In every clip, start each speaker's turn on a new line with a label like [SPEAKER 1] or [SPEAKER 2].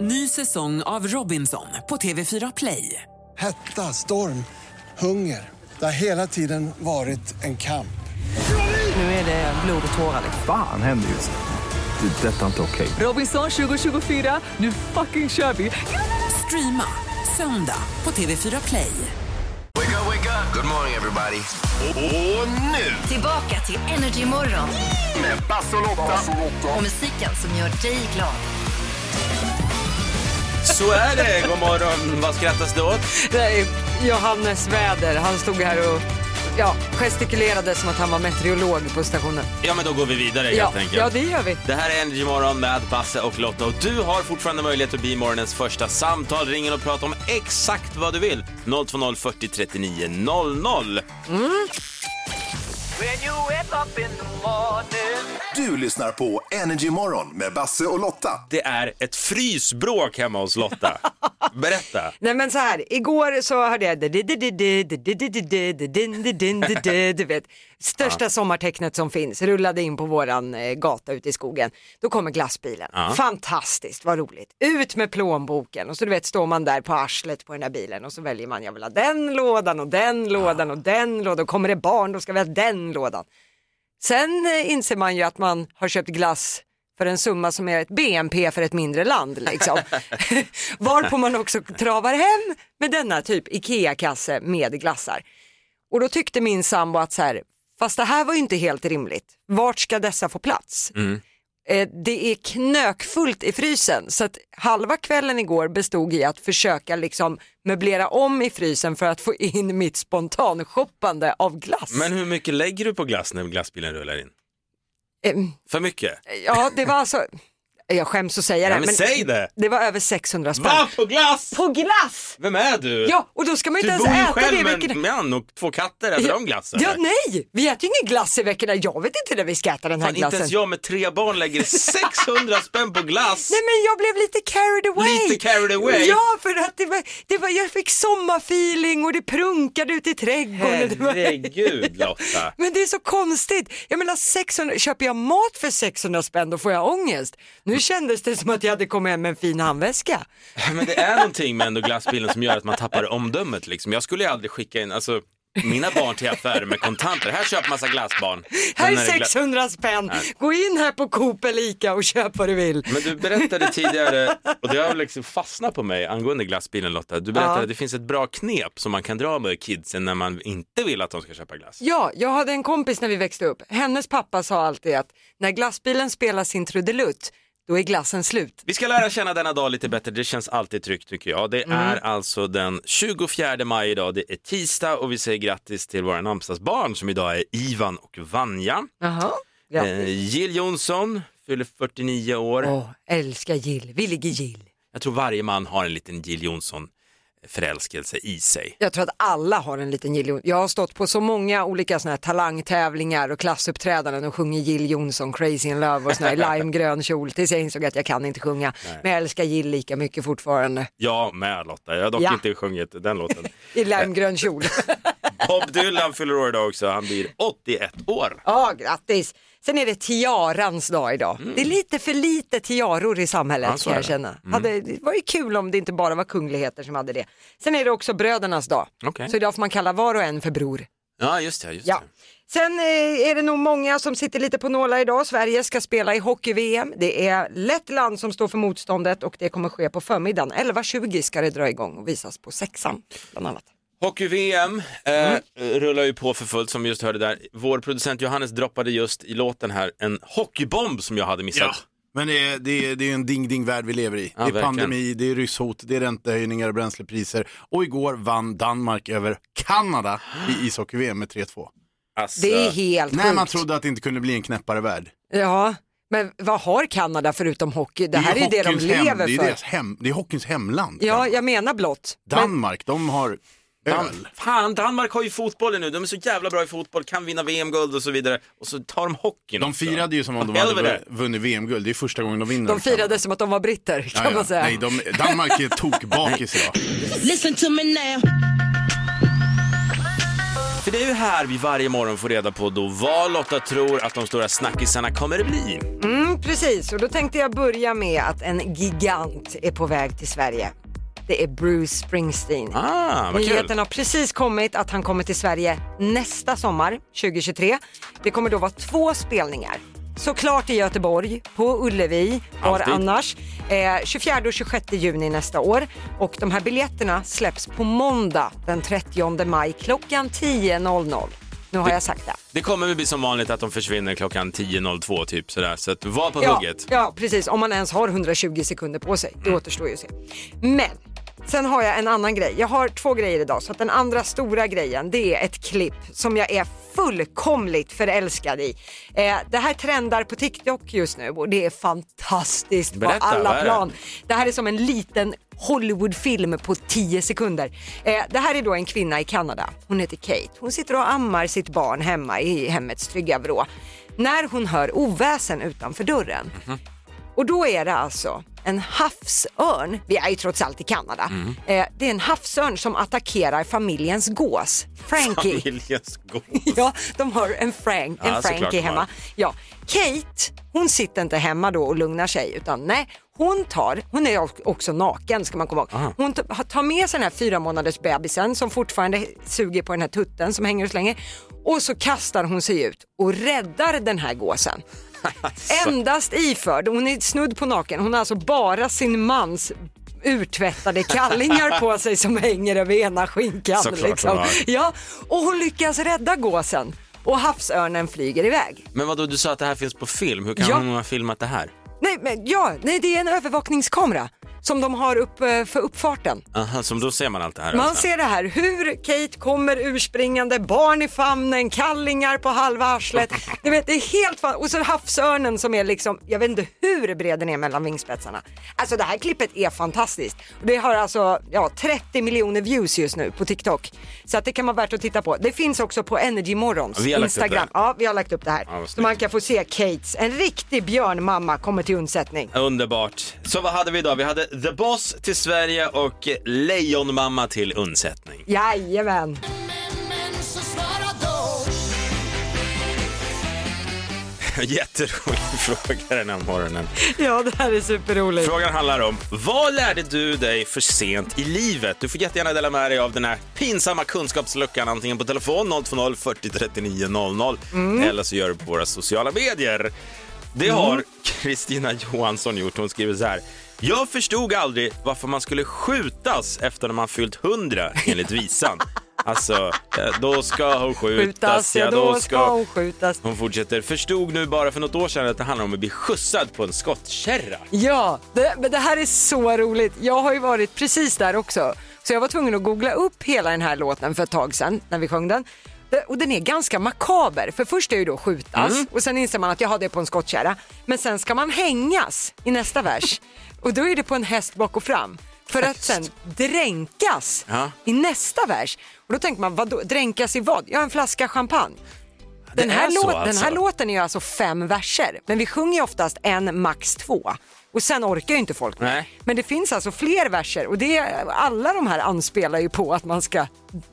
[SPEAKER 1] Ny säsong av Robinson på TV4 Play.
[SPEAKER 2] Hetta, storm, hunger. Det har hela tiden varit en kamp.
[SPEAKER 1] Nu är det blod och tårar. liksom.
[SPEAKER 3] Fan händer just nu. Det. är Detta är inte okej.
[SPEAKER 1] Robinson 2024, nu fucking kör vi! Streama söndag på TV4 Play.
[SPEAKER 4] Wake up, wake up. Good morning everybody. Och nu
[SPEAKER 5] Tillbaka till Energy Morgon
[SPEAKER 4] med Basse och Lotta.
[SPEAKER 5] och musiken som gör dig glad.
[SPEAKER 6] Så är det, god morgon. Vad skrattas det åt?
[SPEAKER 7] Nej, Eh, Johannes Väder. Han stod här och ja, gestikulerade som att han var meteorolog på stationen.
[SPEAKER 6] Ja, men då går vi vidare
[SPEAKER 7] Ja,
[SPEAKER 6] helt enkelt.
[SPEAKER 7] ja, det gör vi.
[SPEAKER 6] Det här är Energy Morgon med Basse och Lotta och du har fortfarande möjlighet att bli morgonens första samtal. Ring in och prata om exakt vad du vill. 020 40 39 00.
[SPEAKER 4] Du lyssnar på Energy Morgon med Basse och Lotta.
[SPEAKER 6] Det är ett frysbråk hemma hos Lotta. Berätta.
[SPEAKER 7] Nej men så här, igår så hörde jag du vet, största sommartecknet som finns rullade in på våran eh, gata ute i skogen. Då kommer glassbilen. Fantastiskt, vad roligt. Ut med plånboken och så du vet står man där på arslet på den där bilen och så väljer man, jag vill ha den lådan och den lådan och den lådan. Och kommer det barn då ska vi ha den lådan. Sen eh, inser man ju att man har köpt glass för en summa som är ett BNP för ett mindre land. Liksom. Varpå man också travar hem med denna typ IKEA-kasse med glassar. Och då tyckte min sambo att så här, fast det här var ju inte helt rimligt. Vart ska dessa få plats?
[SPEAKER 6] Mm.
[SPEAKER 7] Eh, det är knökfullt i frysen så att halva kvällen igår bestod i att försöka liksom möblera om i frysen för att få in mitt spontanshoppande av glass.
[SPEAKER 6] Men hur mycket lägger du på glass när glassbilen rullar in?
[SPEAKER 7] Eh,
[SPEAKER 6] För mycket?
[SPEAKER 7] Ja, det var alltså, jag skäms att säga det.
[SPEAKER 6] Nej, men säg det!
[SPEAKER 7] Det var över 600 spänn.
[SPEAKER 6] Va? På glass?
[SPEAKER 7] På glass!
[SPEAKER 6] Vem är du?
[SPEAKER 7] Ja, och då ska man ju
[SPEAKER 6] du
[SPEAKER 7] inte
[SPEAKER 6] bor ju
[SPEAKER 7] ens äta
[SPEAKER 6] själv
[SPEAKER 7] det i
[SPEAKER 6] med
[SPEAKER 7] veckorna.
[SPEAKER 6] en man och två katter. Äter de glass? eller?
[SPEAKER 7] Ja, nej, vi äter ju ingen glass i veckorna. Jag vet inte när vi ska äta den här
[SPEAKER 6] Fan, inte
[SPEAKER 7] glassen.
[SPEAKER 6] ens jag med tre barn lägger 600 spänn på glass.
[SPEAKER 7] Nej men jag blev lite carried away.
[SPEAKER 6] Lite carried away?
[SPEAKER 7] Ja, för att det var, det var, jag fick sommarfeeling och det prunkade ute i trädgården. Det var-
[SPEAKER 6] Herregud Lotta.
[SPEAKER 7] Men det är så konstigt. Jag menar 600, köper jag mat för 600 spänn då får jag ångest. Nu kändes det som att jag hade kommit hem med en fin handväska.
[SPEAKER 6] Men det är någonting med ändå glassbilen som gör att man tappar omdömet liksom. Jag skulle ju aldrig skicka in, alltså mina barn till affärer med kontanter. Här köp massa glassbarn.
[SPEAKER 7] Här är
[SPEAKER 6] Men när det gla-
[SPEAKER 7] 600 spänn. Gå in här på Coop eller Ica och köp vad du vill.
[SPEAKER 6] Men du berättade tidigare, och det har liksom fastnat på mig angående glassbilen Lotta, du berättade
[SPEAKER 7] Ja.
[SPEAKER 6] att det finns ett bra knep som man kan dra med kidsen när man inte vill att de ska köpa glass.
[SPEAKER 7] Ja, jag hade en kompis när vi växte upp. Hennes pappa sa alltid att när glassbilen spelar sin trudelutt, då är glassen slut.
[SPEAKER 6] Vi ska lära känna denna dag lite bättre, det känns alltid tryggt tycker jag.
[SPEAKER 7] Mm.
[SPEAKER 6] Det är alltså den 24 maj idag, det är tisdag och vi säger grattis till våra namnsdagsbarn som idag är Ivan och Vanja.
[SPEAKER 7] Jaha.
[SPEAKER 6] Eh, Jill Johnson fyller 49 år.
[SPEAKER 7] Åh, älskar Jill, vi ligger Jill.
[SPEAKER 6] Jag tror varje man har en liten Jill Johnson förälskelse i sig.
[SPEAKER 7] Jag tror att alla har en liten Jill Johnson. Jag har stått på så många olika såna här talangtävlingar och klassuppträdanden och sjungit Jill Johnson, Crazy in Love och sån här i limegrön kjol tills jag insåg att jag kan inte sjunga. Men jag älskar Jill lika mycket fortfarande
[SPEAKER 6] Jag med Lotta, jag har dock
[SPEAKER 7] Ja.
[SPEAKER 6] inte sjungit den låten.
[SPEAKER 7] i limegrön kjol.
[SPEAKER 6] Bob Dylan fyller år idag också, han blir 81 år.
[SPEAKER 7] Ja, grattis. Sen är det tiarans dag idag. Det är lite för lite tiaror
[SPEAKER 6] Mm.
[SPEAKER 7] i
[SPEAKER 6] Ja,
[SPEAKER 7] samhället
[SPEAKER 6] så
[SPEAKER 7] kan
[SPEAKER 6] är
[SPEAKER 7] jag
[SPEAKER 6] det. Mm.
[SPEAKER 7] känna. Hade, det var ju kul om det inte bara var kungligheter som hade det. Sen är det också brödernas dag.
[SPEAKER 6] Okej.
[SPEAKER 7] Så idag får man kalla var och en för bror.
[SPEAKER 6] Ja just det, just
[SPEAKER 7] Ja. Sen eh, är det nog många som sitter lite på nålar idag. Sverige ska spela i hockey-VM. Det är Lettland som står för motståndet och det kommer ske på förmiddagen. 11.20 ska det dra igång och visas på sexan bland annat.
[SPEAKER 6] Hockey-VM eh,
[SPEAKER 8] Mm.
[SPEAKER 6] rullar ju på för fullt som vi just hörde där. Vår producent Johannes droppade just i låten här en hockeybomb som jag hade
[SPEAKER 8] Ja,
[SPEAKER 6] missat.
[SPEAKER 8] men det är, det är, det är en ding-ding-värld vi lever i.
[SPEAKER 6] Ja,
[SPEAKER 8] det är
[SPEAKER 6] verkligen.
[SPEAKER 8] pandemi, det är rysshot, det är räntehöjningar och bränslepriser. Och igår vann Danmark över Kanada i ishockey-VM med 3-2.
[SPEAKER 6] Alltså,
[SPEAKER 7] Det är helt
[SPEAKER 8] När man
[SPEAKER 7] sjukt.
[SPEAKER 8] trodde att det inte kunde bli en knäppare värld.
[SPEAKER 7] Ja, men vad har Kanada förutom hockey? Det här är ju det de
[SPEAKER 8] hockeyns hem,
[SPEAKER 7] lever
[SPEAKER 8] det är
[SPEAKER 7] för.
[SPEAKER 8] Deras hem, det är hockeyns hemland.
[SPEAKER 7] Ja, jag menar blott. Men,
[SPEAKER 8] Danmark, de har öl.
[SPEAKER 6] Fan, Danmark har ju fotbollen nu. De är så jävla bra i fotboll, kan vinna VM-guld och så vidare. Och så tar de hockeyn
[SPEAKER 8] De
[SPEAKER 6] också.
[SPEAKER 8] firade ju som om de
[SPEAKER 6] Helvete.
[SPEAKER 8] hade vunnit VM-guld, det är första gången de vinner. liksom.
[SPEAKER 7] de firade som att de var britter kan
[SPEAKER 8] Ja, ja.
[SPEAKER 7] man säga.
[SPEAKER 8] Nej, de, Danmark är tokbakis idag.
[SPEAKER 6] För det är ju här vi varje morgon får reda på då vad Lotta tror att de stora snackisarna kommer att bli.
[SPEAKER 7] Mm, precis, och då tänkte jag börja med att en gigant är på väg till Sverige. Det är Bruce Springsteen.
[SPEAKER 6] Ah, vad
[SPEAKER 7] Nyheten
[SPEAKER 6] kul!
[SPEAKER 7] har precis kommit att han kommer till Sverige nästa sommar, 2023. Det kommer då vara två spelningar. Såklart i Göteborg, på Ullevi, var
[SPEAKER 6] Alltid.
[SPEAKER 7] annars. Eh, 24 och 26 juni nästa år. Och de här biljetterna släpps på måndag den 30 maj klockan 10.00. Nu har jag sagt det.
[SPEAKER 6] Det kommer väl bli som vanligt att de försvinner klockan 10.02 typ sådär, så att var på
[SPEAKER 7] Ja,
[SPEAKER 6] hugget. Mm.
[SPEAKER 7] ja, precis. Om man ens har 120 sekunder på sig. Det återstår ju att se. Men sen har jag en annan grej. Jag har två grejer idag. Så att den andra stora grejen det är ett klipp som jag är fullkomligt förälskad i. Eh, det här trendar på TikTok just nu och det är fantastiskt
[SPEAKER 6] Berätta,
[SPEAKER 7] på
[SPEAKER 6] vad
[SPEAKER 7] alla
[SPEAKER 6] är det?
[SPEAKER 7] plan. Det här är som en liten Hollywoodfilm på 10 sekunder. Eh, det här är då en kvinna i Kanada. Hon heter Kate. Hon sitter och ammar sitt barn hemma i hemmets trygga vrå. När hon hör oväsen utanför dörren.
[SPEAKER 6] Mhm.
[SPEAKER 7] Och då är det alltså en havsörn, vi är ju trots allt i Kanada,
[SPEAKER 6] Mhm.
[SPEAKER 7] eh, det är en havsörn som attackerar familjens gås, Frankie.
[SPEAKER 6] Familjens gås.
[SPEAKER 7] Ja, de har en, Frank, en
[SPEAKER 6] Ja, såklart de
[SPEAKER 7] Frankie
[SPEAKER 6] har.
[SPEAKER 7] hemma. Ja. Kate, hon sitter inte hemma då och lugnar sig utan nej, hon tar, hon är ock- också naken ska man komma ihåg. Hon t- tar med sig den här fyra månaders bebisen som fortfarande suger på den här tutten som hänger och slänger och så kastar hon sig ut och räddar den här gåsen.
[SPEAKER 6] Alltså.
[SPEAKER 7] Endast iförd, hon är snudd på naken, hon har alltså bara sin mans urtvättade kallingar på sig som hänger över ena skinkan. liksom.
[SPEAKER 6] Såklart hon har.
[SPEAKER 7] Ja, och hon lyckas rädda gåsen och havsörnen flyger iväg.
[SPEAKER 6] Men vadå, du sa att det här finns på film, hur kan
[SPEAKER 7] Ja.
[SPEAKER 6] hon ha filmat det här?
[SPEAKER 7] Nej, men ja, nej, det är en övervakningskamera som de har upp, eh, för uppfarten.
[SPEAKER 6] Aha, som då ser man allt det här?
[SPEAKER 7] Man
[SPEAKER 6] alltså.
[SPEAKER 7] ser det här, hur Kate kommer urspringande, barn i famnen, kallingar på halva arslet. Du vet, det är helt fan... Och så havsörnen som är liksom, jag vet inte hur bred den är mellan vingspetsarna. Alltså det här klippet är fantastiskt. Och Det har alltså ja, 30 miljoner views just nu på TikTok. Så att det kan vara värt att titta på. Det finns också på Energy Morgons
[SPEAKER 6] Ja, vi har lagt upp det här.
[SPEAKER 7] Instagram. Ja, vi har lagt upp det här.
[SPEAKER 6] Ja, vad
[SPEAKER 7] så
[SPEAKER 6] snyggt.
[SPEAKER 7] man kan få se Kates, en riktig björnmamma, kommer till undsättning.
[SPEAKER 6] Underbart. Så vad hade vi idag? Vi hade The Boss till Sverige och Lejonmamma till undsättning.
[SPEAKER 7] Jajamän!
[SPEAKER 6] Jätterolig fråga den här morgonen.
[SPEAKER 7] Ja, det här är superroligt.
[SPEAKER 6] Frågan handlar om vad lärde du dig för sent i livet? Du får jättegärna dela med dig av den här pinsamma kunskapsluckan antingen på telefon 020 40 39 00
[SPEAKER 7] Mm.
[SPEAKER 6] eller så gör du på våra sociala medier. Det har Kristina Johansson gjort. Hon skriver så här. Jag förstod aldrig varför man skulle skjutas efter när man fyllt 100 enligt visan. Alltså, eh, då ska hon skjutas,
[SPEAKER 7] skjutas, ja då ska hon skjutas.
[SPEAKER 6] Hon fortsätter, förstod nu bara för något år sedan att det handlar om att bli skjutsad på en skottkärra.
[SPEAKER 7] Ja, det, men det här är så roligt. Jag har ju varit precis där också. Så jag var tvungen att googla upp hela den här låten för ett tag sedan när vi sjöng den. Det- Och den är ganska makaber, för först är ju då skjutas och sen inser man att jag har det är på en skottkärra. Men sen ska man hängas i nästa vers och då är det på en häst bak och fram. För att sen dränkas
[SPEAKER 6] Ja.
[SPEAKER 7] i nästa vers. Och då tänker man, vadå, dränkas i vad? Ja, en flaska champagne. Den
[SPEAKER 6] Det
[SPEAKER 7] här,
[SPEAKER 6] är så
[SPEAKER 7] låt, den
[SPEAKER 6] alltså.
[SPEAKER 7] här låten är ju alltså fem verser, men vi sjunger ju oftast en, max två. Och sen orkar ju inte folk mer.
[SPEAKER 6] Nej.
[SPEAKER 7] Men det finns alltså fler verser och det, alla de här anspelar ju på att man ska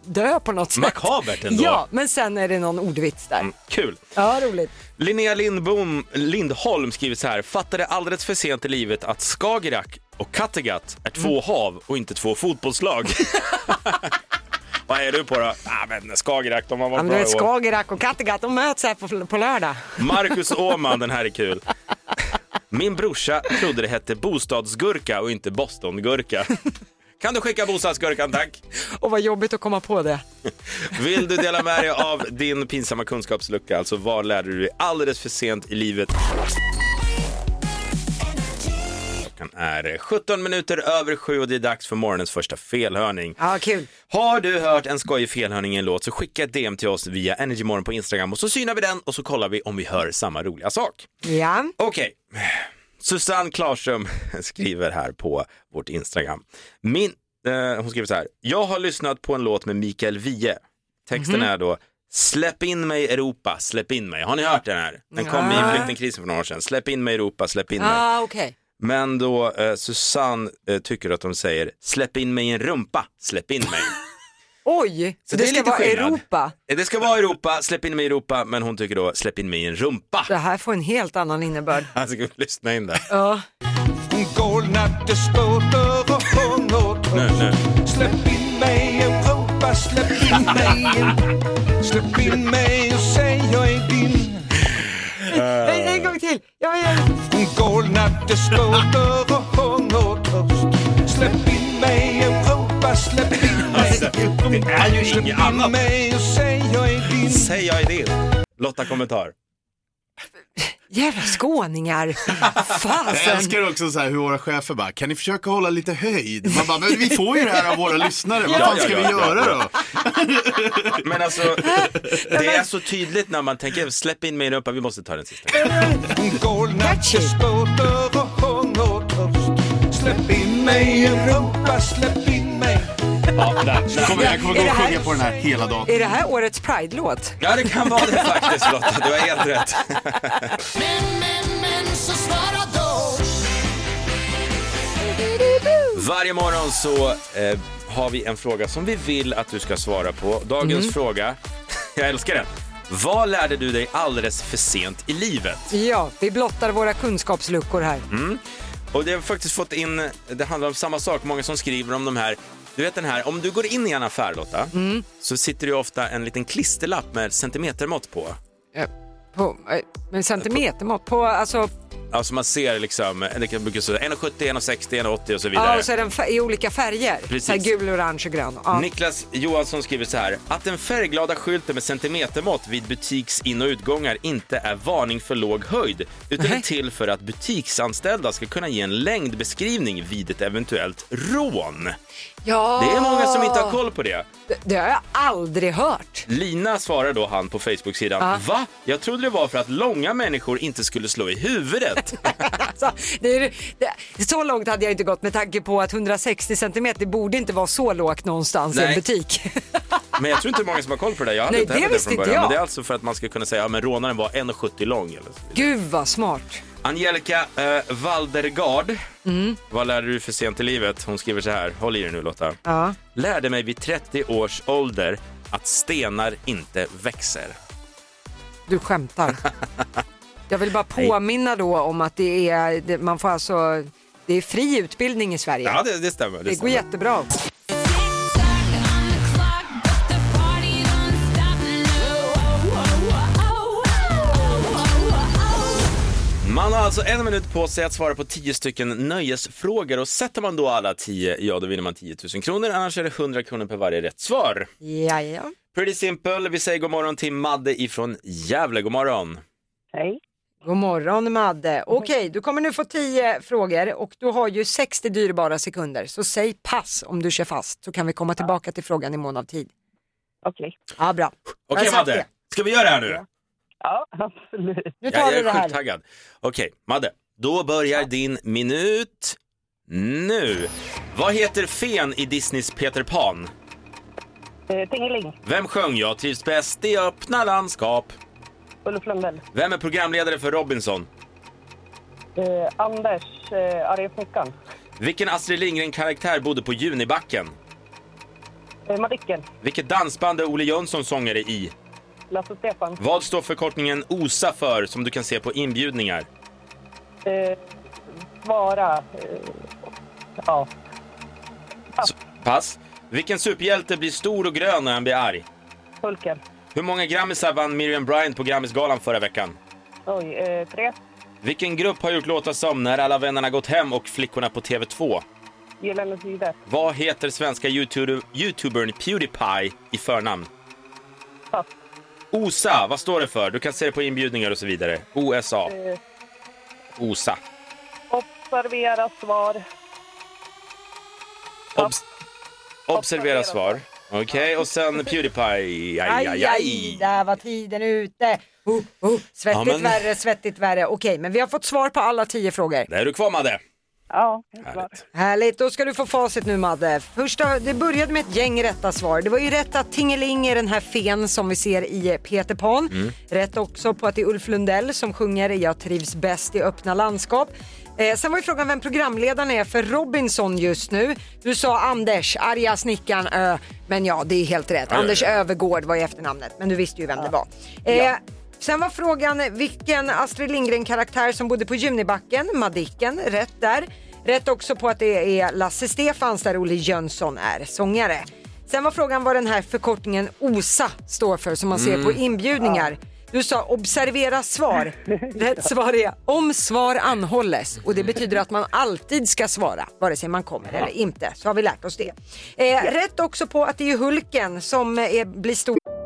[SPEAKER 7] dö på något sätt.
[SPEAKER 6] Makabert ändå. Mm.
[SPEAKER 7] Ja, men sen är det någon ordvits där.
[SPEAKER 6] Kul!
[SPEAKER 7] Ja, roligt.
[SPEAKER 6] Linnea Lindbom, Lindholm skriver så här, fattade alldeles för sent i livet att Skagerrak och Kattegatt är
[SPEAKER 7] Mm.
[SPEAKER 6] två hav och inte två fotbollslag. Vad är du på då? Ah, men Skagerrak, de har
[SPEAKER 7] Ja,
[SPEAKER 6] varit
[SPEAKER 7] men du
[SPEAKER 6] bra
[SPEAKER 7] vet,
[SPEAKER 6] i år.
[SPEAKER 7] Skagerrak och Kattegatt, de möts här på, på lördag.
[SPEAKER 6] Marcus Åhman, den här är kul. Min brorsa trodde det hette bostadsgurka och inte bostongurka. Kan du skicka bostadsgurkan tack?
[SPEAKER 7] Och vad jobbigt att komma på det.
[SPEAKER 6] Vill du dela med dig av din pinsamma kunskapslucka, alltså vad lärde du dig alldeles för sent i livet? Klockan är 17 minuter över sju och det är dags för morgonens första felhörning.
[SPEAKER 7] Ja, kul.
[SPEAKER 6] Har du hört en skojig felhörning i en låt så skicka ett DM till oss via Energymorgon på Instagram och så synar vi den och så kollar vi om vi hör samma roliga sak.
[SPEAKER 7] Ja.
[SPEAKER 6] Okej. Susanne Klarström skriver här på vårt Instagram. Min, eh, hon skriver så här. Jag har lyssnat på en låt med Mikael Wiehe. Texten
[SPEAKER 7] Mhm.
[SPEAKER 6] är då Släpp in mig Europa, släpp in mig. Har ni hört den här? Den kom i flyktingkrisen för några år sedan. Släpp in mig Europa, släpp in mig.
[SPEAKER 7] Ah, okej.
[SPEAKER 6] Men då eh, Susanne eh, tycker att de säger Släpp in mig i en rumpa, släpp in mig.
[SPEAKER 7] Oj, så det,
[SPEAKER 6] är
[SPEAKER 7] ska
[SPEAKER 6] lite
[SPEAKER 7] vara
[SPEAKER 6] skillnad. Eh,
[SPEAKER 7] Europa.
[SPEAKER 6] Det ska vara Europa, släpp in mig i Europa, men hon tycker då släpp in mig i en rumpa.
[SPEAKER 7] Det här får en helt annan innebörd.
[SPEAKER 6] Alltså, gud, lyssna in där.
[SPEAKER 7] Ja.
[SPEAKER 6] Nu, nu.
[SPEAKER 9] Släpp in mig Europa, släpp in mig Släpp in mig och säg jag är din
[SPEAKER 7] Nej, en gång till. Jag är...
[SPEAKER 9] Golnatte ståter och hungertörst Släpp in mig Europa, släpp in mig
[SPEAKER 6] Alltså, det är ju inget annat.
[SPEAKER 9] mig och säg jag är din
[SPEAKER 6] Säg jag är din. Lotta kommentar.
[SPEAKER 7] Jävla skåningar.
[SPEAKER 8] Jag
[SPEAKER 7] Fasen.
[SPEAKER 8] älskar också så här hur våra chefer bara, kan ni försöka hålla lite höjd? Man bara, men vi får ju det här av våra lyssnare, vad fan ska vi göra då?
[SPEAKER 6] Men alltså, det är så tydligt när man tänker släpp in mig i Europa, vi måste ta den sista.
[SPEAKER 9] Golnatte ståter och hungertörst Släpp in mig Europa, släpp in mig
[SPEAKER 8] Jag kommer, jag kommer gå
[SPEAKER 7] Är det
[SPEAKER 8] och
[SPEAKER 7] här-
[SPEAKER 8] sjunga på den här hela dagen.
[SPEAKER 7] Är det här årets Pride-låt?
[SPEAKER 6] Ja, det kan vara det faktiskt Lotta, du har helt rätt. Varje morgon så eh, har vi en fråga som vi vill att du ska svara på. Dagens fråga, jag älskar den. Vad lärde du dig alldeles för sent i livet?
[SPEAKER 7] Ja, vi blottar våra kunskapsluckor här.
[SPEAKER 6] Mm. Och det har faktiskt fått in, det handlar om samma sak, många som skriver om de här du vet den här, om du går in i en affär Lotta,
[SPEAKER 7] Mm.
[SPEAKER 6] så sitter det ju ofta en liten klisterlapp med centimetermått på.
[SPEAKER 7] På, eh, med centimetermått. På, alltså,
[SPEAKER 6] Alltså man ser liksom, det kan brukar stå 1,70, 1,60, 1,80 och så vidare.
[SPEAKER 7] ja, och så är den fär- i olika färger.
[SPEAKER 6] Precis.
[SPEAKER 7] Så här gul, orange och grön. Ja.
[SPEAKER 6] Niklas Johansson skriver så här, att den färgglada skylten med centimetermått vid butiks in och utgångar inte är varning för låg höjd, utan är
[SPEAKER 7] Nej.
[SPEAKER 6] till för att butiksanställda ska kunna ge en längdbeskrivning vid ett eventuellt rån.
[SPEAKER 7] ja.
[SPEAKER 6] Det är många som inte har koll på det.
[SPEAKER 7] Det, det har jag aldrig hört.
[SPEAKER 6] Lina svarar då han på Facebook-sidan, va? Jag trodde det var för att långa människor inte skulle slå i huvudet.
[SPEAKER 7] Alltså, det är, det, så långt hade jag inte gått med tanke på att 160 centimeter borde inte vara så lågt någonstans i
[SPEAKER 6] Nej.
[SPEAKER 7] en butik.
[SPEAKER 6] Men jag tror inte många som har koll på det där. Jag hade
[SPEAKER 7] Nej,
[SPEAKER 6] inte
[SPEAKER 7] det
[SPEAKER 6] heller det
[SPEAKER 7] visste
[SPEAKER 6] från
[SPEAKER 7] inte
[SPEAKER 6] början. Men
[SPEAKER 7] jag.
[SPEAKER 6] det är alltså för att man ska kunna säga, ja men rånaren var 1,70 lång. Eller så.
[SPEAKER 7] Gud vad smart.
[SPEAKER 6] Angelica eh, Valdergard,
[SPEAKER 7] Mm.
[SPEAKER 6] vad lärde du för sent i livet? Hon skriver så här, håll i dig nu Lotta.
[SPEAKER 7] Ja.
[SPEAKER 6] Lärde mig vid 30 års ålder att stenar inte växer.
[SPEAKER 7] Du skämtar. Jag vill bara påminna då om att det är, det, man får alltså, det är fri utbildning i Sverige.
[SPEAKER 6] Ja, det, det stämmer.
[SPEAKER 7] det går
[SPEAKER 6] stämmer.
[SPEAKER 7] jättebra.
[SPEAKER 6] Man har alltså en minut på sig att svara på 10 stycken nöjesfrågor och sätter man då alla 10, ja då vinner man 10 000 kronor, annars är det 100 kronor per varje rätt svar.
[SPEAKER 7] Ja, ja.
[SPEAKER 6] Pretty simple, vi säger god morgon till Madde ifrån Gävle, god morgon.
[SPEAKER 7] God morgon Madde. Okej, du kommer nu få 10 frågor och du har ju 60 dyrbara sekunder. Så säg pass om du kör fast så kan vi komma tillbaka till frågan i mån av tid.
[SPEAKER 10] Okej.
[SPEAKER 7] Ja, bra. Jag
[SPEAKER 6] Okej
[SPEAKER 7] har sagt
[SPEAKER 6] Madde, ska vi göra det här nu?
[SPEAKER 10] Ja, absolut.
[SPEAKER 7] det. Nu
[SPEAKER 6] Jag,
[SPEAKER 7] tar
[SPEAKER 6] jag
[SPEAKER 7] vi det
[SPEAKER 6] är
[SPEAKER 7] här.
[SPEAKER 6] sjukt taggad. Okej, Madde, då börjar din minut nu. Vad heter fen i Disneys Peter Pan?
[SPEAKER 10] Eh, Tingeling,
[SPEAKER 6] Vem sjöng Jag trivs bäst i öppna landskap?
[SPEAKER 10] Ulf Lundell.
[SPEAKER 6] Vem är programledare för Robinson?
[SPEAKER 10] Eh, Anders, eh, arga snickaren.
[SPEAKER 6] Vilken Astrid Lindgren-karaktär bodde på Junibacken?
[SPEAKER 10] Eh, Madicken,
[SPEAKER 6] Vilket dansband är Olle Jönsson sångare i?
[SPEAKER 10] Lasse Stefan.
[SPEAKER 6] Vad står förkortningen OSA för som du kan se på inbjudningar?
[SPEAKER 10] Eh, Svara. Eh, ja,
[SPEAKER 6] Pass. Vilken superhjälte blir stor och grön när han blir arg?
[SPEAKER 10] Hulken.
[SPEAKER 6] Hur många grammisar vann Miriam Bryant på Grammisgalan förra veckan?
[SPEAKER 10] Oj, eh, tre.
[SPEAKER 6] Vilken grupp har gjort låtar som När alla vännerna gått hem och Flickorna på TV2?
[SPEAKER 10] Gyllene Tider.
[SPEAKER 6] Vad heter svenska YouTube- youtubern Pewdiepie i förnamn?
[SPEAKER 10] Pass.
[SPEAKER 6] OSA, vad står det för? Du kan se det på inbjudningar och så vidare. OSA.
[SPEAKER 10] Eh,
[SPEAKER 6] OSA.
[SPEAKER 10] observera svar.
[SPEAKER 6] Obs- observera svar. Okej, och sen Pewdiepie. Aj, aj, aj.
[SPEAKER 7] där var tiden ute. Oh, oh. Svettigt
[SPEAKER 6] Ja, men-
[SPEAKER 7] värre, svettigt värre. Okej, men vi har fått svar på alla 10 frågor.
[SPEAKER 6] Där är du kvar, Madde.
[SPEAKER 10] Ja, ett svar.
[SPEAKER 6] Härligt.
[SPEAKER 7] Härligt, då ska du få facit nu Madde. Första, det började med ett gäng rätta svar. Det var ju rätt att Tingeling är den här fen som vi ser i eh, Peter Pan.
[SPEAKER 6] Mm.
[SPEAKER 7] Rätt också på att det är Ulf Lundell som sjunger Jag trivs bäst i öppna landskap. Eh, sen var ju frågan vem programledaren är för Robinson just nu. Du sa Anders, arga snickaren Ö. Men ja, det är helt rätt.
[SPEAKER 6] ja,
[SPEAKER 7] Anders
[SPEAKER 6] ja.
[SPEAKER 7] Övergård var ju efternamnet, men du visste ju vem det var. Eh, Sen var frågan vilken Astrid Lindgren-karaktär som bodde på Junibacken, Madicken, rätt där. Rätt också på att det är Lasse Stefans där Olle Jönsson är sångare. Sen var frågan vad den här förkortningen OSA står för som man ser på inbjudningar. Du sa observera svar. Rätt svar är om svar anhålles och det betyder att man alltid ska svara vare sig man kommer eller inte. Så har vi lärt oss det. Eh, rätt också på att det är Hulken som eh, blir stor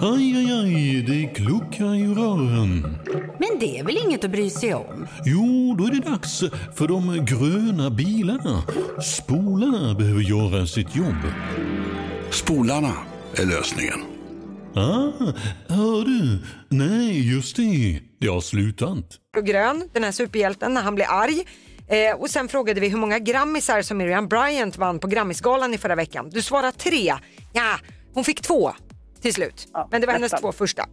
[SPEAKER 9] Aj, aj, aj, det kluckar i rören.
[SPEAKER 5] Men det är väl inget att bry sig om?
[SPEAKER 9] Jo, då är det dags för de gröna bilarna. Spolarna behöver göra sitt jobb.
[SPEAKER 11] Spolarna är lösningen.
[SPEAKER 9] Ah, hör du? Nej, just det. Det har slutat.
[SPEAKER 7] och grön, den här superhjälten, när han blir arg. Eh, och sen frågade vi hur många grammisar som Miriam Bryant vann på Grammisgalan i förra veckan. Du svarade tre. Ja, hon fick två till slut.
[SPEAKER 10] Ja,
[SPEAKER 7] Men det var hennes
[SPEAKER 10] nästan.
[SPEAKER 7] två första.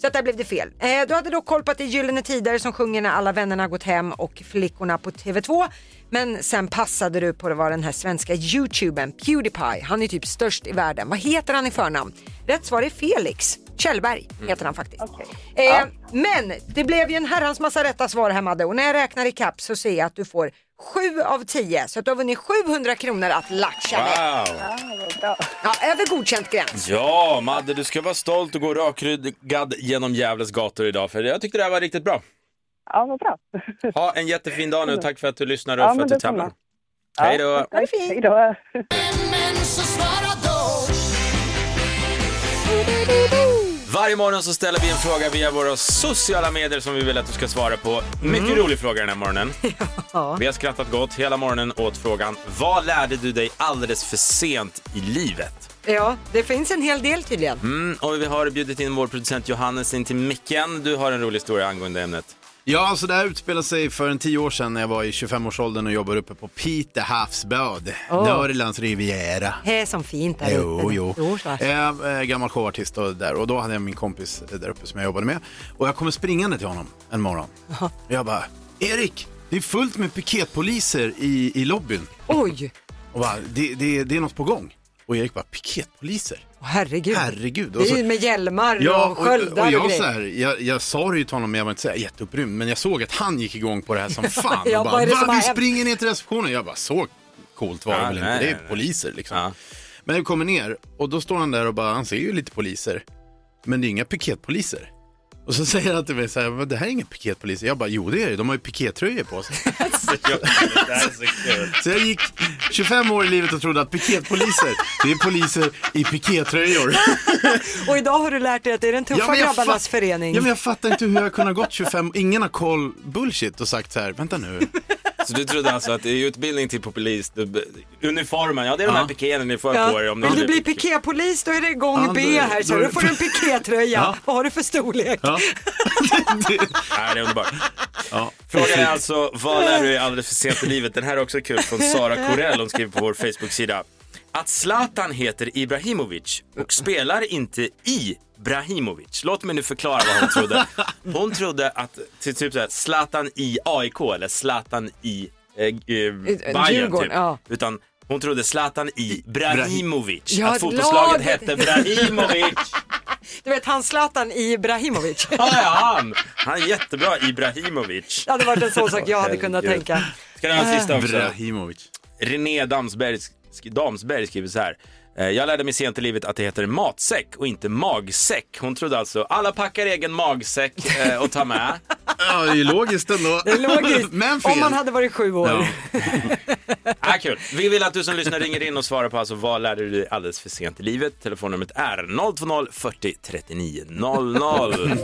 [SPEAKER 7] Så att där blev det fel. Eh, du hade dock koll på att det är Gyllene Tider som sjunger När alla vännerna gått hem och Flickorna på TV2. Men sen passade du på det var den här svenska youtubern Pewdiepie. Han är typ störst i världen. Vad heter han i förnamn? Rätt svar är Felix Kjellberg
[SPEAKER 8] Mm.
[SPEAKER 7] heter han faktiskt. Eh, Men det blev ju en herrans massa rätta svar här Madde och när jag räknar i kapp så ser jag att du får 7 av 10 så att du har vunnit 700 kronor att latcha med.
[SPEAKER 6] Wow!
[SPEAKER 7] Ja, över godkänt gräns.
[SPEAKER 6] Ja, Madde, du ska vara stolt och gå rakryggad genom Gävles gator idag, för jag tyckte det här var riktigt bra.
[SPEAKER 10] Ja, vad bra.
[SPEAKER 6] Ha en jättefin dag nu. Tack för att du lyssnar och
[SPEAKER 10] Ja,
[SPEAKER 6] för
[SPEAKER 10] men
[SPEAKER 6] att du
[SPEAKER 10] detsamma.
[SPEAKER 6] tävlar. Hej då!
[SPEAKER 7] Ha det fint.
[SPEAKER 10] Hej då.
[SPEAKER 6] Varje morgon så ställer vi en fråga via våra sociala medier som vi vill att du ska svara på. Mycket
[SPEAKER 10] Mm.
[SPEAKER 6] rolig fråga den här morgonen. Vi har skrattat gott hela morgonen åt frågan Vad lärde du dig alldeles för sent i livet?
[SPEAKER 7] Ja, det finns en hel del tydligen.
[SPEAKER 6] Mm, och vi har bjudit in vår producent Johannes in till micken. Du har en rolig historia angående ämnet.
[SPEAKER 8] Ja, alltså det här utspelade sig för en tio år sedan när jag var i 25-årsåldern och jobbade uppe på Pite havsbad,
[SPEAKER 7] Åh.
[SPEAKER 8] Norrlands riviera.
[SPEAKER 7] Det är som fint där
[SPEAKER 8] Jo,
[SPEAKER 7] uppe.
[SPEAKER 8] jo.
[SPEAKER 7] så.
[SPEAKER 8] Eh, eh, gammal showartist och där och då hade jag min kompis där uppe som jag jobbade med. Och jag kommer springande till honom en morgon. Och jag bara, Erik, det är fullt med piketpoliser i, i lobbyn.
[SPEAKER 7] Oj,
[SPEAKER 8] Och bara, det, det, det är något på gång. Och Erik bara, piketpoliser?
[SPEAKER 7] åh, herregud.
[SPEAKER 8] Herregud. Och
[SPEAKER 7] Det är
[SPEAKER 8] så-
[SPEAKER 7] ju med hjälmar och sköldar
[SPEAKER 8] och
[SPEAKER 7] och,
[SPEAKER 8] jag, så
[SPEAKER 7] grejer.
[SPEAKER 8] här, jag, jag sa det ju till honom, men jag var inte så här jätteupprymd, men jag såg att han gick igång på det här som fan.
[SPEAKER 7] Ja,
[SPEAKER 8] och bara,
[SPEAKER 7] vad är det
[SPEAKER 8] Va,
[SPEAKER 7] som har
[SPEAKER 8] vi
[SPEAKER 7] hänt?"
[SPEAKER 8] springer ner till receptionen. Jag bara, så coolt var det
[SPEAKER 6] Ja,
[SPEAKER 8] väl
[SPEAKER 6] nej,
[SPEAKER 8] inte, det
[SPEAKER 6] nej,
[SPEAKER 8] är
[SPEAKER 6] nej.
[SPEAKER 8] poliser liksom.
[SPEAKER 6] Ja.
[SPEAKER 8] Men jag kommer ner och då står han där och bara, han ser ju lite poliser, men det är inga piketpoliser. Och så säger han till mig så här, "Men det här är inga piketpoliser. Jag bara, jo det är det, de har ju pikettröjor på sig.
[SPEAKER 6] Det här är så kul.
[SPEAKER 8] Så jag gick 25 år i livet och trodde att piketpoliser, det är poliser i pikettröjor.
[SPEAKER 7] Och idag har du lärt dig att det är den tuffa
[SPEAKER 8] men jag
[SPEAKER 7] grabbarnas
[SPEAKER 8] fatt-
[SPEAKER 7] förening.
[SPEAKER 8] Ja, men jag fattar inte hur jag har kunnat gått 25, ingen har koll, bullshit och sagt så här, vänta nu.
[SPEAKER 6] Så du trodde alltså att i utbildning till polis, du- uniformen, ja det är de här
[SPEAKER 8] Ja.
[SPEAKER 6] pikéerna ni får
[SPEAKER 7] Ja.
[SPEAKER 6] på er om
[SPEAKER 7] Vill
[SPEAKER 6] ni
[SPEAKER 7] du bli piképolis då är det gång
[SPEAKER 8] Ja, då-
[SPEAKER 7] B här. Så
[SPEAKER 8] då-
[SPEAKER 7] då får du en pikétröja.
[SPEAKER 8] Ja.
[SPEAKER 7] Vad har du för storlek?
[SPEAKER 8] Ja.
[SPEAKER 6] Nej, det är underbart.
[SPEAKER 8] ja.
[SPEAKER 6] Frågan är alltså, vad lär du dig alldeles för sent i livet? Den här är också kul från Sara Corell, hon skriver på vår Facebook-sida. Att Zlatan heter Ibrahimovic och spelar inte i Brahimovic. Låt mig nu förklara vad hon trodde. Hon trodde att till typ så här, Zlatan i AIK eller Zlatan i eh, eh, Bayern
[SPEAKER 7] Djurgården,
[SPEAKER 6] typ.
[SPEAKER 7] ja.
[SPEAKER 6] Utan hon trodde Zlatan i Brahimovic.
[SPEAKER 7] Ja,
[SPEAKER 6] att fotbollslaget
[SPEAKER 7] laget.
[SPEAKER 6] hette Brahimovic.
[SPEAKER 7] Du vet han Zlatan Ibrahimovic.
[SPEAKER 6] Ja, ja, han. han är jättebra Ibrahimovic.
[SPEAKER 7] Det hade varit en sån sak jag hade kunnat
[SPEAKER 6] Herregud.
[SPEAKER 7] tänka.
[SPEAKER 6] Ska den ha en sista också?
[SPEAKER 8] Brahimovic.
[SPEAKER 6] René Damsberg, sk- Damsberg skriver så här. Eh, Jag lärde mig sent i livet att det heter matsäck och inte magsäck. Hon trodde alltså alla packar egen magsäck eh, och tar med.
[SPEAKER 8] Ja, det är ju logiskt ändå.
[SPEAKER 7] Det är logiskt.
[SPEAKER 8] Men fel.
[SPEAKER 7] Om man hade varit sju år.
[SPEAKER 8] Ja.
[SPEAKER 6] Ah, kul. Vi vill att du som lyssnar ringer in och svarar på alltså, vad lärde du dig alldeles för sent i livet? Telefonnumret är 020 40 39 00.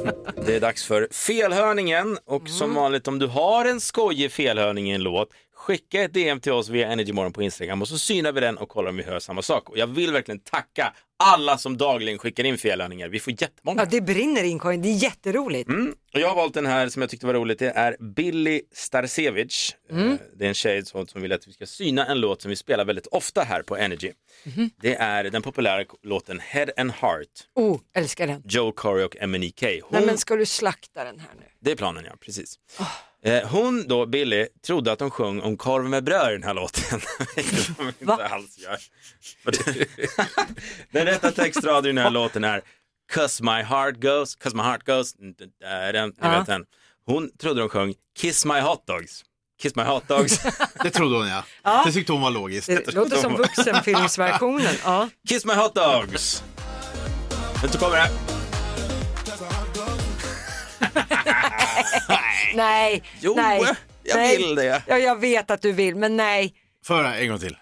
[SPEAKER 6] Det är dags för felhörningen och som vanligt om du har en skojig felhörning i en låt Skicka ett DM till oss via Energymorgon på Instagram och så synar vi den och kollar om vi hör samma sak. Och jag vill verkligen tacka alla som dagligen skickar in felhörningar. Vi får jättemånga.
[SPEAKER 7] Ja, det brinner i inkorgen, det är jätteroligt.
[SPEAKER 6] Mm. Och jag har valt den här som jag tyckte var roligt. Det är Billy Starcevic.
[SPEAKER 7] Mm.
[SPEAKER 6] Eh, Det är en tjej som, som vill att vi ska syna en låt som vi spelar väldigt ofta här på Energy.
[SPEAKER 7] Mhm.
[SPEAKER 6] Det är den populära k- låten Head and Heart,
[SPEAKER 7] Oh, älskar den.
[SPEAKER 6] Joe Corey och MNEK. Hon,
[SPEAKER 7] Nej men ska du slakta den här nu?
[SPEAKER 6] Det är planen ja, precis. Eh, Hon då, Billy, trodde att de sjöng om korv med bröd i den här låten. Vilket de inte
[SPEAKER 7] Va?
[SPEAKER 6] alls gör. För det- den rätta textraden i den här låten är Cause my heart goes, cause my heart goes, ni vet den. Hon trodde de sjöng Kiss my hot dogs. Kiss my hot dogs.
[SPEAKER 8] Det trodde hon ja. Det tyckte hon var logiskt.
[SPEAKER 7] Det låter som vuxenfilmsversionen. Ja.
[SPEAKER 6] Kiss my hot dogs. Men så kommer det.
[SPEAKER 7] Nej,
[SPEAKER 6] Jo,
[SPEAKER 7] nej.
[SPEAKER 6] jag
[SPEAKER 7] nej.
[SPEAKER 6] vill det.
[SPEAKER 7] Ja, jag vet att du vill, men nej.
[SPEAKER 8] Får jag höra en gång till.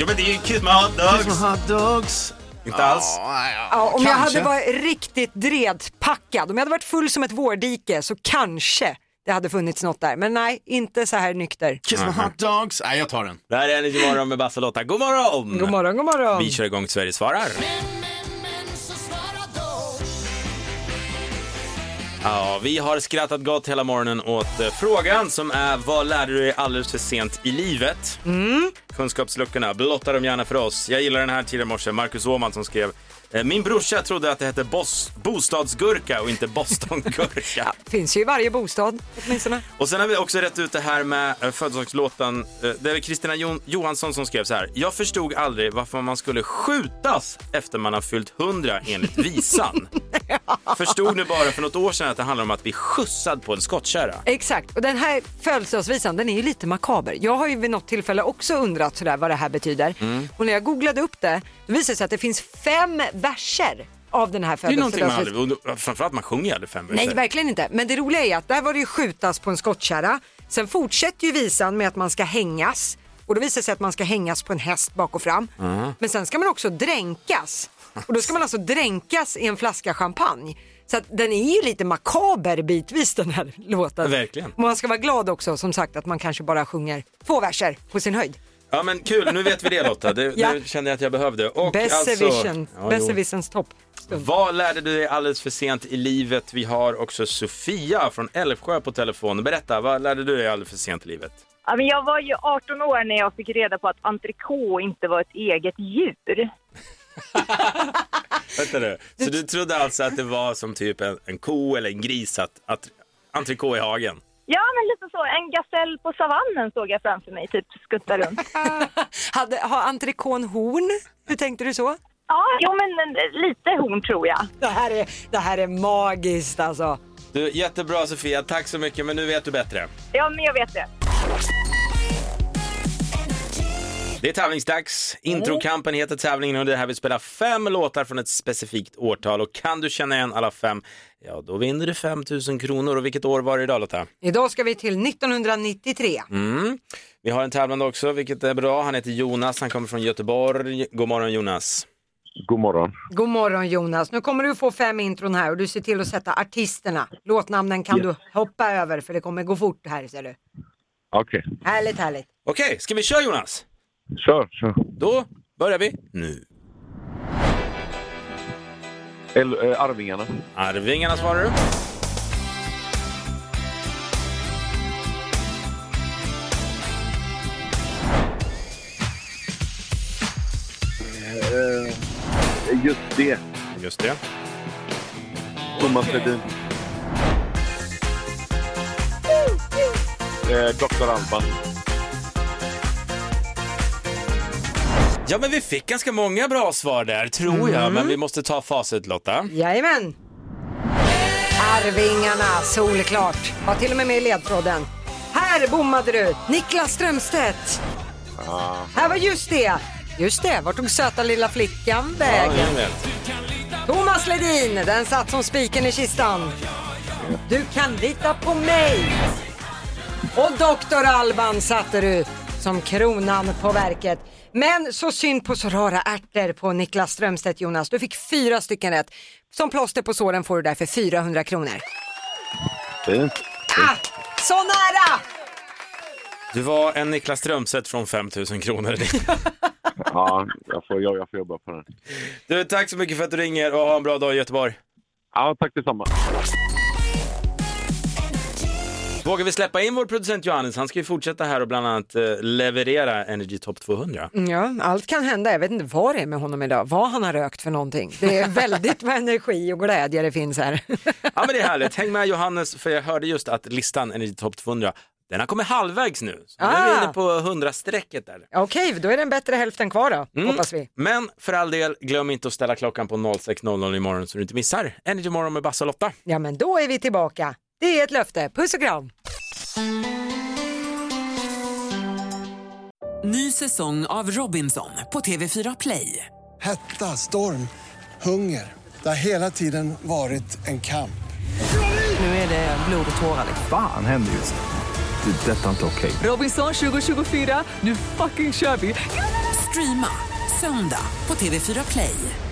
[SPEAKER 6] Ja men det är ju Kiss my hot dogs.
[SPEAKER 8] Hot dogs.
[SPEAKER 6] Inte alls.
[SPEAKER 7] Ja, om jag
[SPEAKER 8] Kanske.
[SPEAKER 7] hade varit riktigt dredpackad, om jag hade varit full som ett vårdike så kanske det hade funnits något där. Men nej, inte så här nykter.
[SPEAKER 8] Kiss
[SPEAKER 6] Mm-hmm.
[SPEAKER 8] my hot dogs. Nej, jag tar den.
[SPEAKER 6] Det här är Energy Morgon med Basse och Lotta. God morgon!
[SPEAKER 7] God morgon, god morgon.
[SPEAKER 6] Vi kör igång Sverige svarar. Ja, vi har skrattat gott hela morgonen åt eh, frågan som är vad lärde du dig alldeles för sent i livet? Kunskapsluckorna, blotta dem gärna för oss. Jag gillar den här tidigare i morse, Marcus Åhman som skrev eh, min brorsa trodde att det hette bos- bostadsgurka och inte bostongurka.
[SPEAKER 7] Finns ju i varje bostad åtminstone.
[SPEAKER 6] Och sen har vi också rätt ut det här med eh, födelsedagslåten. Eh, Det är Kristina Jo- Johansson som skrev så här. Jag förstod aldrig varför man skulle skjutas efter man har fyllt 100 enligt visan. förstod nu bara för något år sedan att det handlar om att bli skjutsad på en skottkärra.
[SPEAKER 7] Exakt, och den här födelsedagsvisan den är ju lite makaber. Jag har ju vid något tillfälle också undrat sådär vad det här betyder. Och när jag googlade upp det, då visade det sig att det finns fem verser av den här
[SPEAKER 6] Det är ju någonting man aldrig,
[SPEAKER 7] födelsedagsvisan.
[SPEAKER 6] och då- framförallt man sjunger ju aldrig fem
[SPEAKER 7] Nej,
[SPEAKER 6] verser.
[SPEAKER 7] verkligen inte. Men det roliga är att där var det ju skjutas på en skottkärra. Sen fortsätter ju visan med att man ska hängas. Och då visar det sig att man ska hängas på en häst bak och fram.
[SPEAKER 6] Mm.
[SPEAKER 7] Men sen ska man också dränkas. Och då ska man alltså dränkas i en flaska champagne. Så att den är ju lite makaber bitvis den här låten.
[SPEAKER 6] Verkligen.
[SPEAKER 7] Och man ska vara glad också som sagt att man kanske bara sjunger två verser på sin höjd.
[SPEAKER 6] Ja men kul, nu vet vi det Lotta. Det,
[SPEAKER 7] Ja.
[SPEAKER 6] det kände jag att jag behövde. Och alltså-
[SPEAKER 7] Besserwissern,
[SPEAKER 6] Ja, jo.
[SPEAKER 7] Besserwissens topp.
[SPEAKER 6] Vad lärde du dig alldeles för sent i livet? Vi har också Sofia från Älvsjö på telefon. Berätta, vad lärde du dig alldeles för sent i livet?
[SPEAKER 10] Ja, men jag var ju 18 år när jag fick reda på att entrecote inte var ett eget djur.
[SPEAKER 6] Vänta nu. Så du trodde alltså att det var som typ en, en ko eller en gris att, att entrecote i hagen?
[SPEAKER 10] Ja, men lite så. En gasell på savannen såg jag framför mig, typ skutta runt.
[SPEAKER 7] Hade, har entrecôten horn? Hur tänkte du så?
[SPEAKER 10] Ja, jo, men en- lite horn tror jag.
[SPEAKER 7] Det här är, det här är magiskt alltså.
[SPEAKER 6] Du, jättebra Sofia, tack så mycket men nu vet du bättre.
[SPEAKER 10] Ja, men jag vet det.
[SPEAKER 6] Det är tävlingsdags. Introkampen heter tävlingen och det är här vi spelar fem låtar från ett specifikt årtal och kan du känna igen alla fem, ja då vinner du 5 000 kronor och vilket år var det idag Lotta?
[SPEAKER 7] Idag ska vi till 1993.
[SPEAKER 6] Mm. Vi har en tävlande också vilket är bra. Han heter Jonas, han kommer från Göteborg. God morgon Jonas.
[SPEAKER 3] God morgon.
[SPEAKER 7] God morgon Jonas. Nu kommer du få fem intron här och du ser till att sätta artisterna. Låtnamnen kan du hoppa över för det kommer gå fort här ser du.
[SPEAKER 3] Okej,
[SPEAKER 7] Härligt härligt.
[SPEAKER 6] Okej, ska vi köra Jonas?
[SPEAKER 3] kör, kör.
[SPEAKER 6] Då börjar vi nu.
[SPEAKER 3] El, eh, Arvingarna.
[SPEAKER 6] Arvingarna svarar du.
[SPEAKER 3] Eh, Just det.
[SPEAKER 6] Just det.
[SPEAKER 3] Thomas Ledin. Eh, Dr. Alban.
[SPEAKER 6] Ja, men vi fick ganska många bra svar där, tror jag. Men vi måste ta facit, Lotta.
[SPEAKER 7] Jajamän. Arvingarna, solklart. Var till och med med i ledtråden. Här bommade du! Niklas Strömstedt!
[SPEAKER 3] Ah.
[SPEAKER 7] Här var just det! Just det, vart tog söta lilla flickan vägen? Thomas Ledin, den satt som spiken i kistan. Du kan lita på mig! Och Dr. Alban satte du som kronan på verket. Men så synd på så rara ärtor på Niklas Strömstedt Jonas. Du fick fyra stycken rätt. Som plåster på såren får du därför 400 kronor.
[SPEAKER 3] Fint.
[SPEAKER 7] Ah, så nära!
[SPEAKER 6] Du var en Niklas Strömstedt från 5000 kronor.
[SPEAKER 3] Ja, jag får, jag, jag får jobba på den.
[SPEAKER 6] Du, tack så mycket för att du ringer och ha en bra dag i Göteborg.
[SPEAKER 3] Ja, tack detsamma.
[SPEAKER 6] Vågar vi släppa in vår producent Johannes? Han ska ju fortsätta här och bland annat eh, leverera Energy Top 200.
[SPEAKER 7] Ja, allt kan hända. Jag vet inte vad det är med honom idag, vad han har rökt för någonting. Det är väldigt vad energi och glädje det finns här.
[SPEAKER 6] Ja men det är härligt, häng med Johannes för jag hörde just att listan Energy Top 200, den har kommit halvvägs nu. Så nu är vi
[SPEAKER 7] Ah.
[SPEAKER 6] inne på 100-strecket där.
[SPEAKER 7] Okej, då är den bättre hälften kvar då,
[SPEAKER 6] Mm.
[SPEAKER 7] hoppas vi.
[SPEAKER 6] Men för all del, glöm inte att ställa klockan på 06.00 imorgon så du inte missar Energy Morgon med Basse och Lotta.
[SPEAKER 7] Ja, men då är vi tillbaka. Det är ett löfte. Puss och kram!
[SPEAKER 1] Ny säsong av Robinson på TV4 Play.
[SPEAKER 2] Hetta, storm, hunger. Det har hela tiden varit en kamp.
[SPEAKER 1] Nu är det blod och tårar.
[SPEAKER 12] Fan händer just nu. Det. är Detta är inte okej.
[SPEAKER 1] Robinson 2024, nu fucking kör vi! Streama söndag på TV4 Play.